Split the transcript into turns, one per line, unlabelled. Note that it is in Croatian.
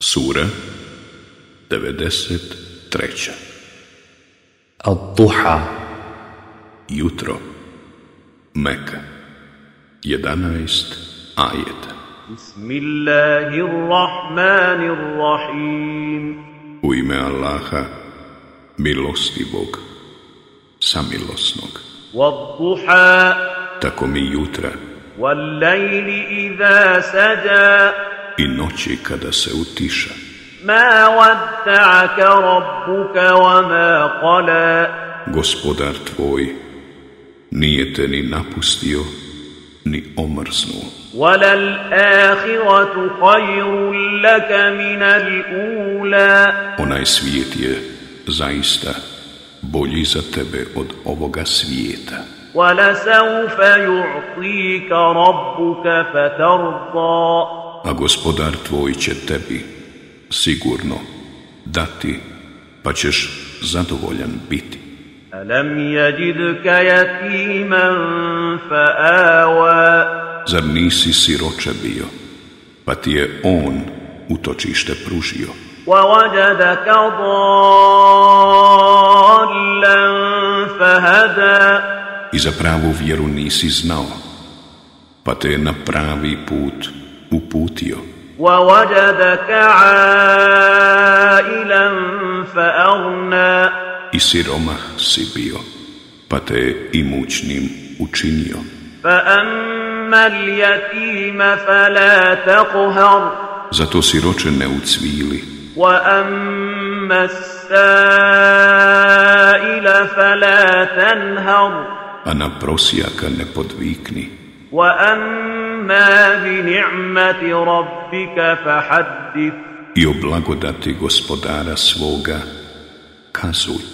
Sura 93.
الضحى
Jutro. Meka. 11 ajeta.
بسم الله الرحمن الرحيم
U ime Allaha, milostivog, samilosnog.
والضحى
Tako mi jutra
والليل إذا سجى
i noći kada se utiša.
ما ودعك ربك وما قلى
Gospodar tvoj nije te ni napustio, ni omrznuo.
وللآخرة خير لك من الأولى
Onaj svijet je zaista bolji za tebe od ovoga svijeta.
ولسوف يعطيك ربك فترضى
a gospodar tvoj će tebi sigurno dati, pa ćeš zadovoljan biti.
ألم يجدك يتيما فآوى
Zar nisi siroče bio, pa ti je on utočište pružio,
ووجدك ضالا فهدى
i za pravu vjeru nisi znao, pa te je na pravi put uputio,
ووجدك عائلا فأغنى
i siromah si bio, pa te je imućnim učinio.
فأما اليتيم فلا تقهر
Zato siroče ne ucvili,
وأما السائل فلا تنهر
a na prosjaka ne podvikni.
وأما بنعمة ربك فحدث
i o blagodati gospodara svoga kazuj.